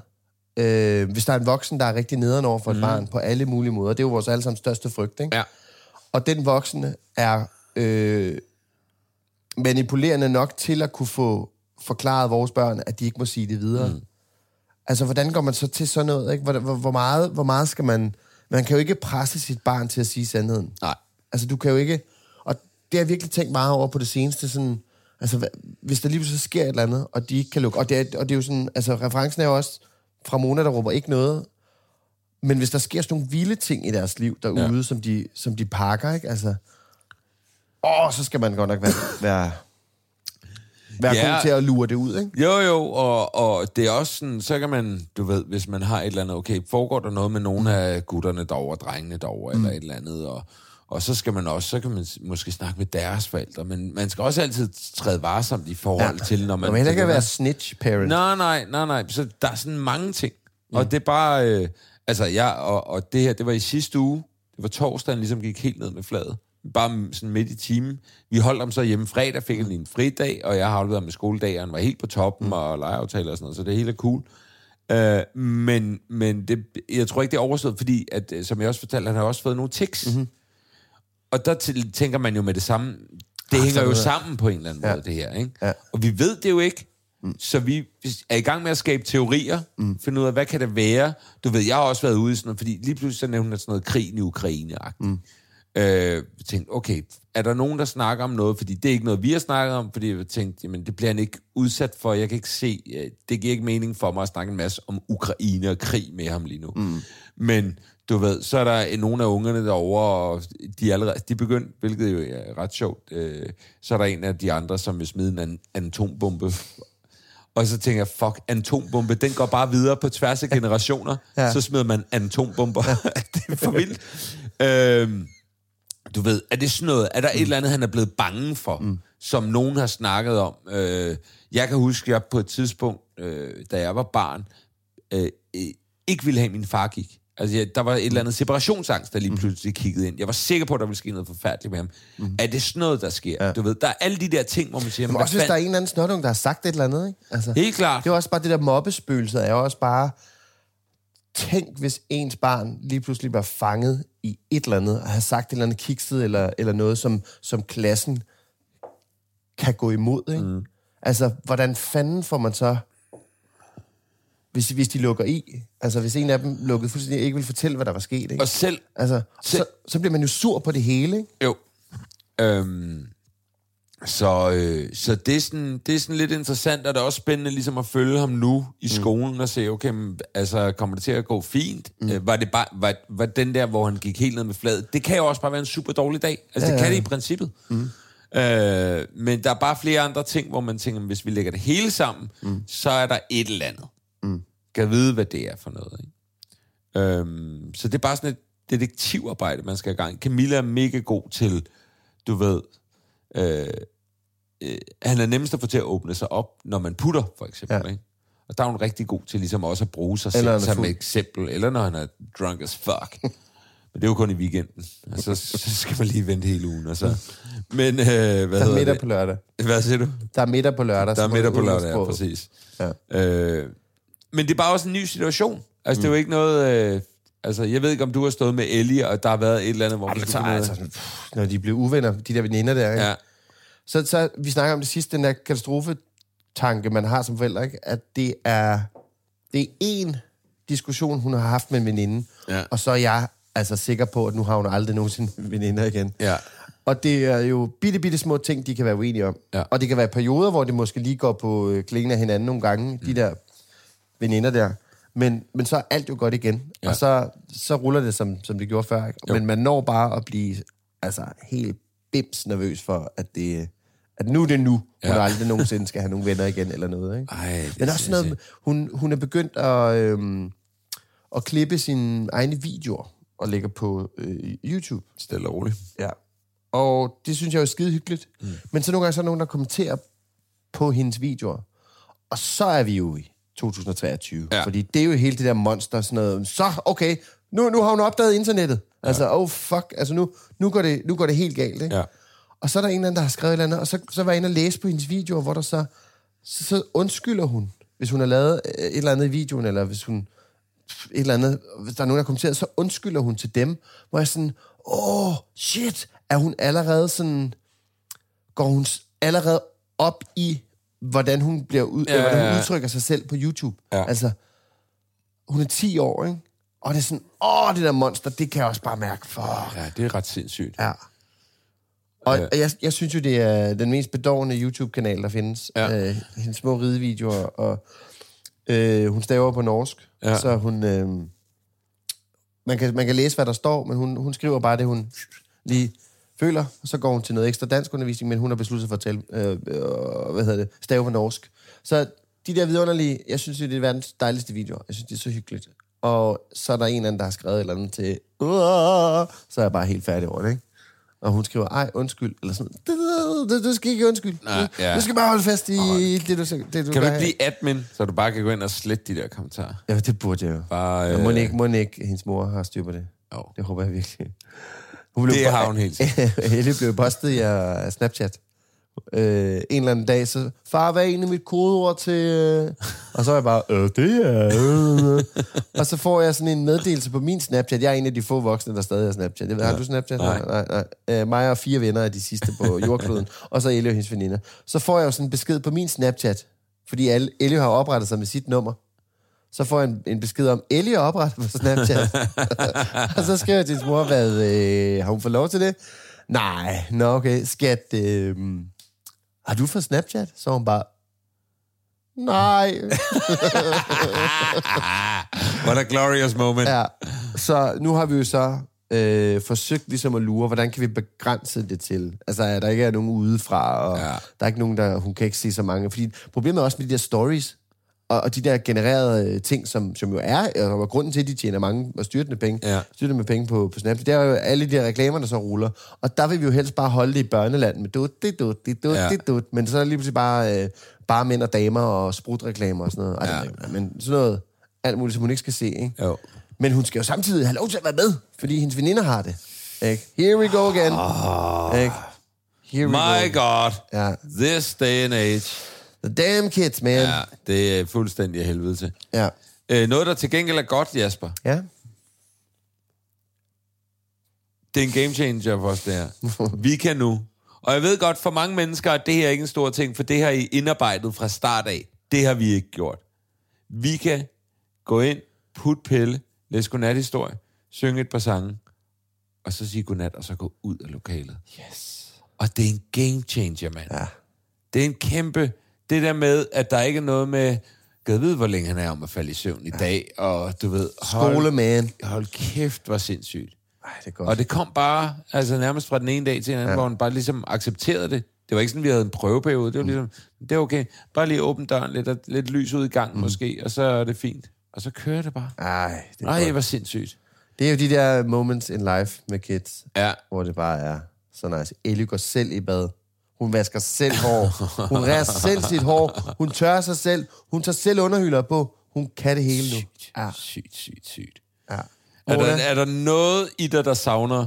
A: øh, hvis der er en voksen, der er rigtig nederen over for et mm. barn på alle mulige måder. Det er jo vores allesammens største frygt, ikke?
B: Ja.
A: Og den voksne er øh, manipulerende nok til at kunne få forklaret vores børn, at de ikke må sige det videre. Mm. Altså, hvordan går man så til sådan noget? Ikke? Hvor, hvor, hvor, meget, hvor meget skal man... Man kan jo ikke presse sit barn til at sige sandheden.
B: Nej.
A: Altså, du kan jo ikke... Og det har jeg virkelig tænkt meget over på det seneste, sådan... Altså, hvad- hvis der lige pludselig sker et eller andet, og de ikke kan lukke... Og det er, og det er jo sådan... Altså, referencen er jo også fra Mona, der råber ikke noget. Men hvis der sker sådan nogle vilde ting i deres liv derude, ja. som, de, som de pakker, ikke? Altså... Åh, så skal man godt nok være... være være
B: Ja.
A: ja. god til at lure det ud, ikke?
B: Jo, jo, og, og det er også sådan, så kan man, du ved, hvis man har et eller andet, okay, foregår der noget med nogle af gutterne derovre, drengene derovre, mm. eller et eller andet, og, og så skal man også, så kan man s- måske snakke med deres forældre, men man skal også altid træde varsomt i forhold ja. til, når man...
A: Man heller ikke
B: tænker,
A: være
B: "Nå,
A: snitch parent.
B: Nej, nej, nej, nej. Så der er sådan mange ting. Mm. Og det er bare... Øh, altså, jeg, og, og det her, det var i sidste uge. Det var torsdagen, ligesom gik helt ned med fladet. Bare m- sådan midt i timen. Vi holdt ham så hjemme fredag, fik han lige en fridag, og jeg har afleveret ham med skoledag, og han var helt på toppen, mm. og legeaftaler og sådan noget, så det hele er cool. Øh, men men det, jeg tror ikke, det er overstået, fordi, at, øh, som jeg også fortalte, han har også fået nogle tics. Mm-hmm. Og der til- tænker man jo med det samme, det ah, hænger jo sammen på en eller anden ja. måde, det her. Ikke? Ja. Og vi ved det jo ikke, mm. så vi er i gang med at skabe teorier, mm. finde ud af, hvad kan det være? Du ved, jeg har også været ude i sådan noget, fordi lige pludselig så nævnte hun sådan noget krigen i Ukraine. Mm. Øh, jeg tænkte, okay, er der nogen, der snakker om noget? Fordi det er ikke noget, vi har snakket om, fordi jeg tænkte, jamen det bliver han ikke udsat for, jeg kan ikke se, øh, det giver ikke mening for mig at snakke en masse om Ukraine og krig med ham lige nu. Mm. Men du ved, så er der øh, nogle af ungerne derovre, og de er allerede, de er begyndt, hvilket jo er ret sjovt, øh, så er der en af de andre, som vil smide en an, atombombe. Og så tænker jeg, fuck, atombombe, den går bare videre på tværs af generationer. Ja. Så smider man atombomber. det er for vildt. øhm, du ved, er det sådan noget, er der mm. et eller andet, han er blevet bange for, mm. som nogen har snakket om? Øh, jeg kan huske, jeg på et tidspunkt, øh, da jeg var barn, øh, øh, ikke ville have, at min far gik. Altså, jeg, der var et eller andet separationsangst, der lige pludselig kiggede ind. Jeg var sikker på, at der ville ske noget forfærdeligt med ham. Mm. Er det sådan noget, der sker? Ja. Du ved, der er alle de der ting, hvor man siger...
A: Men
B: hvad
A: også hvis der er
B: fanden-
A: en eller anden snotung, der har sagt et eller andet, ikke? Altså,
B: Helt klart.
A: Det er jo også bare det der mobbespøgelse, er jo også bare... Tænk, hvis ens barn lige pludselig var fanget i et eller andet, og har sagt et eller andet kikset, eller, eller noget, som, som klassen kan gå imod, ikke? Mm. Altså, hvordan fanden får man så... Hvis, hvis de lukker i, altså hvis en af dem lukkede fuldstændig, ikke vil fortælle, hvad der var sket, ikke?
B: Og selv
A: Altså, så, så bliver man jo sur på det hele, ikke?
B: Jo. Øhm, så øh, så det, er sådan, det er sådan lidt interessant, og det er også spændende ligesom at følge ham nu i skolen mm. og se, okay, men, altså, kommer det til at gå fint? Mm. Øh, var det bare var, var den der, hvor han gik helt ned med fladet? Det kan jo også bare være en super dårlig dag. Altså, ja, det kan det i princippet. Mm. Øh, men der er bare flere andre ting, hvor man tænker, hvis vi lægger det hele sammen, mm. så er der et eller andet. Mm. Kan vide, hvad det er for noget. Ikke? Øhm, så det er bare sådan et detektivarbejde, man skal i gang. Camilla er mega god til, du ved, øh, øh, han er nemmest at få til at åbne sig op, når man putter, for eksempel. Ja.
A: Ja.
B: Ikke? Og der er hun rigtig god til ligesom også at bruge sig
A: Eller
B: selv
A: han er
B: som
A: fuld.
B: eksempel, eller når han er drunk as fuck. Men det er jo kun i weekenden, og så, så skal man lige vente hele ugen. Og så. Men øh, hvad
A: Der er
B: hedder
A: middag
B: det?
A: på lørdag.
B: Hvad siger du?
A: Der er middag på lørdag.
B: Der er
A: som
B: middag på lørdag, ja,
A: udgangspunkt.
B: præcis.
A: Ja.
B: Øh, men det er bare også en ny situation. Altså, mm. det er jo ikke noget... Øh, altså, jeg ved ikke, om du har stået med Ellie, og der har været et eller andet, hvor...
A: Jamen,
B: man
A: så,
B: skulle finde ud af-
A: altså, sådan, pff, når de blev uvenner, de der veninder der, ikke?
B: Ja,
A: Så, så vi snakker om det sidste, den der katastrofetanke, man har som forældre, ikke? at det er det er en diskussion, hun har haft med en veninde,
B: Ja.
A: og så er jeg altså sikker på, at nu har hun aldrig nogensinde veninder igen.
B: Ja.
A: Og det er jo bitte, bitte små ting, de kan være uenige om.
B: Ja.
A: Og det kan være perioder, hvor det måske lige går på øh, klingen af hinanden nogle gange,
B: Mm.
A: de der veninder der. Men, men så er alt jo godt igen. Ja. Og så, så ruller det, som, som det gjorde før. Ikke? Men man når bare at blive altså, helt bims nervøs for, at, det, at nu er det nu, ja. hun aldrig nogensinde skal have nogle venner igen eller noget. Ikke?
B: Ej, det
A: men
B: er
A: også sådan noget, hun, hun er begyndt at, øhm, at klippe sine egne videoer og lægger på øh, YouTube.
B: stille og roligt.
A: Ja. Og det synes jeg jo er skide hyggeligt. Mm. Men så nogle gange så er der nogen, der kommenterer på hendes videoer. Og så er vi jo i 2023.
B: Ja.
A: Ja. Fordi det er jo hele det der monster, sådan noget. Så, okay, nu, nu har hun opdaget internettet. Altså, oh fuck, altså nu, nu, går det, nu går det helt galt, ikke?
B: Ja.
A: Og så er der en eller anden, der har skrevet et eller andet, og så, så var jeg inde og læse på hendes videoer, hvor der så, så, så undskylder hun, hvis hun har lavet øh, et eller andet i videoen, eller hvis hun et eller andet, hvis der er nogen, der kommenterer, så undskylder hun til dem, hvor jeg sådan, åh, oh, shit, er hun allerede sådan, går hun s- allerede op i, hvordan hun, bliver ud, ja,
B: Ja,
A: øh, hvordan
B: ja,
A: hun
B: ja.
A: udtrykker sig selv på YouTube.
B: Ja.
A: Altså, hun er 10 år, ikke? Og det er sådan, åh, oh, det der monster, det kan jeg også bare mærke, fuck.
B: Ja, det er ret sindssygt.
A: Ja. Og ja. Jeg, jeg synes jo, det er den mest bedårende YouTube-kanal, der findes.
B: Ja.
A: Øh, hendes små ridevideoer, og øh, hun staver på norsk,
B: Ja.
A: ja. så hun... Øh, man, kan, man kan læse, hvad der står, men hun, hun skriver bare det, hun lige føler, og så går hun til noget ekstra danskundervisning, men hun har besluttet sig for at tale, øh, øh, hvad hedder det, stave på norsk. Så de der vidunderlige, jeg synes, det er verdens dejligste videoer. Jeg synes, det er så hyggeligt. Og så er der en eller anden, der har skrevet et eller andet til, "Uah!" så er jeg bare helt færdig over det, ikke? Og hun skriver, ej, undskyld, eller sådan, du, du, du skal ikke undskylde.
B: Nej, ja.
A: Du skal bare holde fast i det, du, det, du
B: Kan du
A: gør
B: ikke
A: her."
B: blive admin, så du bare kan gå ind og slette de der kommentarer?
A: Ja, det burde jeg jo.
B: Bare,
A: Bare, øh... Må
B: øh,
A: ikke, må ikke, hendes mor har styr på det.
B: Jo.
A: Det håber jeg virkelig. Hun blev
B: Det
A: bo-
B: har hun helt
A: Helle blev postet i øh, Snapchat. Øh, en eller anden dag, så far, hvad er egentlig mit kodeord til... øh?" Og så er jeg bare, øh, det er... øh, øh." og så får jeg sådan en meddelelse på min Snapchat. Jeg er en af de få voksne, der stadig har Snapchat. Jeg ved, har du Snapchat?
B: Nej.
A: nej, nej. Øh, mig og fire venner er de sidste på jordkloden. og så Elio og hendes veninder. Så får jeg jo sådan en besked på min Snapchat. Fordi alle- Elio har oprettet sig med sit nummer så får jeg en, en besked om, Ellie er oprettet på Snapchat. og så skriver jeg til hendes mor, hvad, øh, har hun fået lov til det? Nej, nå okay, skat, øh, har du fået Snapchat? Så er hun bare, nej.
B: What a glorious moment.
A: ja. Så nu har vi jo så øh, forsøgt ligesom at lure, hvordan kan vi begrænse det til? Altså, at der ikke er nogen udefra, og
B: Ja.
A: ja. der er ikke nogen, der, hun kan ikke se så mange. Fordi problemet er også med de der stories, og, og de der genererede øh, ting, som, som jo er, altså, og, og grunden til, at de tjener mange og styrtende penge,
B: Ja.
A: styrtende med penge på, på Snapchat, det er jo alle de der reklamer, der så ruller. Og der vil vi jo helst bare holde det i børneland med dut, det dut, det dut,
B: Ja.
A: ja. det dut. Men så er det lige pludselig bare, øh, bare mænd og damer og sprutreklamer og sådan noget. Ej, det
B: Ja.
A: ved jeg ikke, Men sådan noget, alt muligt, som hun ikke skal se, ikke?
B: Jo.
A: Men hun skal jo samtidig have lov til at være med, fordi hendes veninder har det. Ikke? Here we go again. Ikke? Here we
B: My
A: go.
B: God.
A: Ja.
B: This day and age.
A: The damn kids, man.
B: Ja, det er fuldstændig af helvede til.
A: Ja.
B: Øh, noget, der til gengæld er godt, Jasper,
A: ja.
B: det er en game changer for os, det her. Vi kan nu. Og jeg ved godt, for mange mennesker, at det her er ikke en stor ting, for det har I indarbejdet fra start af. Det har vi ikke gjort. Vi kan gå ind, putte pille, læse godnat-historie, synge et par sange, og så sige godnat, og så gå ud af lokalet. Yes. Og det er en game changer, mand. Ja. Det er en kæmpe... Det der med, at der ikke er noget med... Gad vide, hvor længe han er om at falde i søvn i dag, og du ved... hold-
A: Skole, man.
B: Hold kæft, hvor sindssygt.
A: Ej, det er
B: Og
A: godt.
B: det kom bare, altså nærmest fra den ene dag til den anden, ja. hvor hun bare ligesom accepterede det. Det var ikke sådan, vi havde en prøveperiode. Det
A: Mm.
B: var ligesom, det er okay. Bare lige åbne døren lidt, og lidt lys ud i gangen mm. måske, og så er det fint. Og så kører det bare.
A: Ej, det er,
B: Nej, det
A: godt.
B: var sindssygt.
A: det er jo de der moments in life med kids,
B: Ja.
A: hvor det bare er så nice. Ellie går selv i bad. Hun vasker selv hår. Hun rærer selv sit hår. Hun tørrer sig selv. Hun tager selv underhylder på. Hun kan det hele nu. Ja.
B: Sygt, sygt, sygt.
A: ja.
B: Er der,
A: Mona?
B: er der noget i dig, der savner?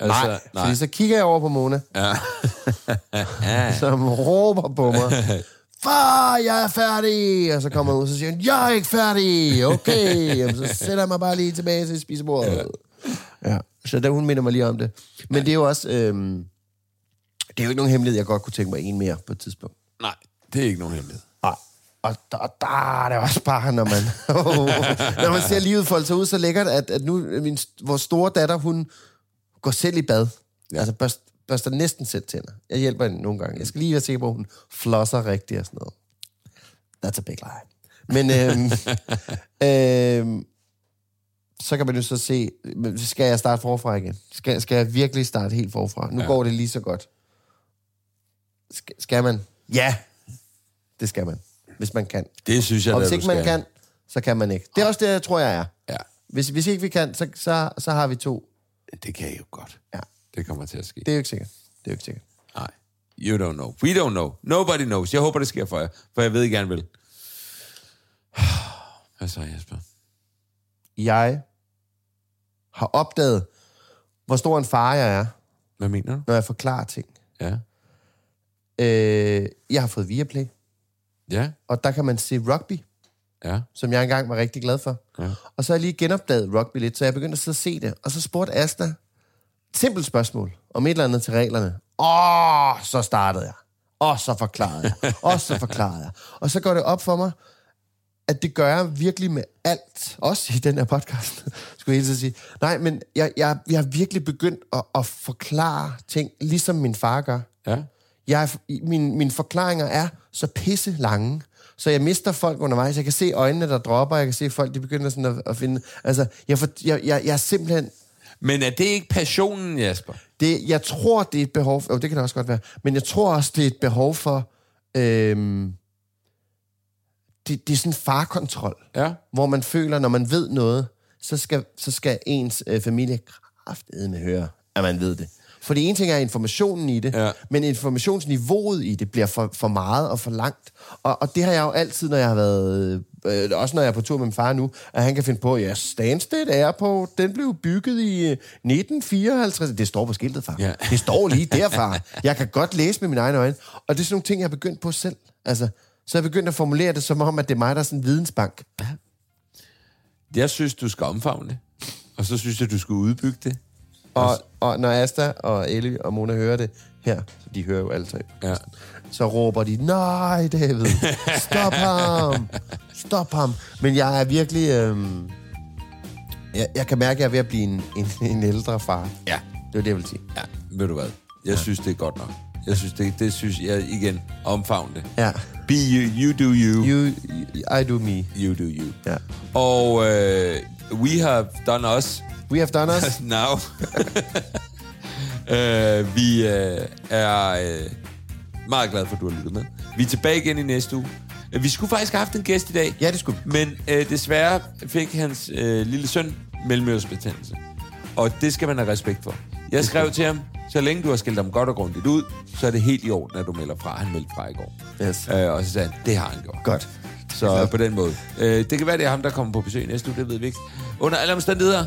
B: Altså,
A: Nej, nej, fordi så kigger jeg over på Mona,
B: Ja.
A: som råber på mig. Far, jeg er færdig! Og så kommer hun ud, og så siger hun, jeg er ikke færdig! Okay, Jamen, så sætter jeg mig bare lige tilbage til spisebordet. Ja. ja. Så der, hun minder mig lige om det. Men det er jo også... Øhm, det er jo ikke nogen hemmelighed, jeg godt kunne tænke mig en mere på et tidspunkt.
B: Nej, det er ikke nogen hemmelighed.
A: Nej. Og der, og der er det også bare, når man, når man ser livet folde sig ud så lækkert, at, at nu min, vores store datter, hun går selv i bad. Ja. Altså børst, børster næsten selv tænder. Jeg hjælper hende nogle gange. Jeg skal lige være sikker på, at hun flosser rigtigt og sådan noget. That's a big lie. Men øhm, øhm, så kan man jo så se, men skal jeg starte forfra igen? Skal, skal jeg virkelig starte helt forfra? Nu ja. går det lige så godt. Skal, skal man? Ja, det skal man. Hvis man kan.
B: Det synes jeg,
A: Og
B: da,
A: hvis
B: du
A: ikke man
B: skal. Ah.
A: kan, så kan man ikke. Det er også det, jeg tror, jeg er.
B: Ja,
A: Hvis, hvis ikke vi kan, så, så, så har vi to.
B: det kan jeg jo godt.
A: Ja.
B: Det kommer til at ske.
A: Det er jo ikke sikkert. Det er jo ikke sikkert.
B: Nej. You don't know. We don't know. Nobody knows. Jeg håber, det sker for jer, for jeg ved, I gerne vil. Hvad så, Jesper?
A: Jeg har opdaget, hvor stor en far jeg er,
B: Hvad mener du?
A: når jeg forklarer ting.
B: Ja.
A: Øh, jeg har fået Viaplay,
B: Ja.
A: og der kan man se rugby.
B: Ja.
A: som jeg engang var rigtig glad for. Ja. Og så har jeg lige genopdaget rugby lidt, så jeg begyndte at sidde og se det. Og så spurgte Asta, et simpelt spørgsmål, om et eller andet til reglerne. Åh, så startede jeg. Og så forklarede jeg. Og så forklarede jeg. Og så går det op for mig, at det gør jeg virkelig med alt. Også i den her podcast, skulle jeg hele tiden sige. Nej, men jeg, jeg, jeg har virkelig begyndt at, at forklare ting, ligesom min far gør.
B: Ja.
A: Jeg er, min, mine forklaringer er så pisse lange, så jeg mister folk undervejs. Jeg kan se øjnene, der dropper. Jeg kan se folk, de begynder sådan at, at finde... Altså, jeg, for, jeg, jeg, jeg er simpelthen...
B: Men er det ikke passionen, Jasper?
A: Det, jeg tror, det er et behov... For, jo, det kan det også godt være. Men jeg tror også, det er et behov for... Øhm, det, det er sådan farkontrol.
B: Ja.
A: Hvor man føler, når man ved noget, så skal, så skal ens øh, familie kraftedeme høre, at man ved det. For det ene ting er informationen i det,
B: Ja.
A: men informationsniveauet i det bliver for, for meget og for langt. Og, og det har jeg jo altid, når jeg har været... Øh, også når jeg er på tur med min far nu, at han kan finde på, ja, Stansted er på... Den blev bygget i øh, 1954. Det står på skiltet, far.
B: Ja.
A: Det står lige der, far. Jeg kan godt læse med mine egne øjne. Og det er sådan nogle ting, jeg har begyndt på selv. Altså, så jeg er begyndt at formulere det som om, at det er mig, der er sådan en vidensbank.
B: Jeg synes, du skal omfavne det. Og så synes jeg, du skal udbygge det.
A: Og, og når Asta og Ellie og Mona hører det her, så de hører jo alle tre,
B: Ja.
A: så råber de, nej David, stop ham, stop ham. Men jeg er virkelig, øhm, jeg, jeg kan mærke, at jeg er ved at blive en, en, en ældre far.
B: Ja.
A: Det er det, jeg vil sige.
B: Ja, ved du hvad? Jeg synes, det er godt nok. Jeg synes, det, det synes jeg igen. Omfavn det.
A: Ja.
B: Be you, you do you.
A: You, I do me.
B: You do you.
A: Ja.
B: Og øh, we have done us
A: We have done us.
B: now. øh, vi øh, er øh, meget glade for, at du har lyttet med. Vi er tilbage igen i næste uge. Øh, Vi skulle faktisk have haft en gæst i dag.
A: Ja, det skulle vi.
B: Men øh, desværre fik hans øh, lille søn mellemøresbetændelse. Og det skal man have respekt for. Jeg skrev til ham, så længe du har skilt ham godt og grundigt ud, så er det helt i orden, at du melder fra. Han meldte fra i går.
A: Yes.
B: Øh, og så sagde han, det har han gjort.
A: Godt.
B: Så på den måde. Øh, det kan være, det er ham, der kommer på besøg næste uge, det ved vi ikke. Under alle omstændigheder,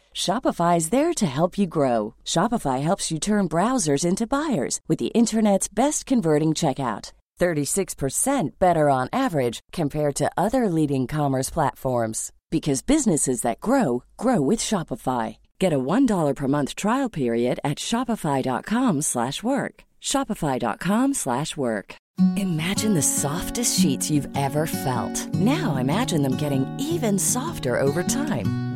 C: Shopify is there to help you grow. Shopify helps you turn browsers into buyers with the internet's best converting checkout. 36% better on average compared to other leading commerce platforms because businesses that grow grow with Shopify. Get a $1 per month trial period at shopify.com/work. slash work. shopify.com/work. slash work. Imagine the softest sheets you've ever felt. Now imagine them getting even softer over time.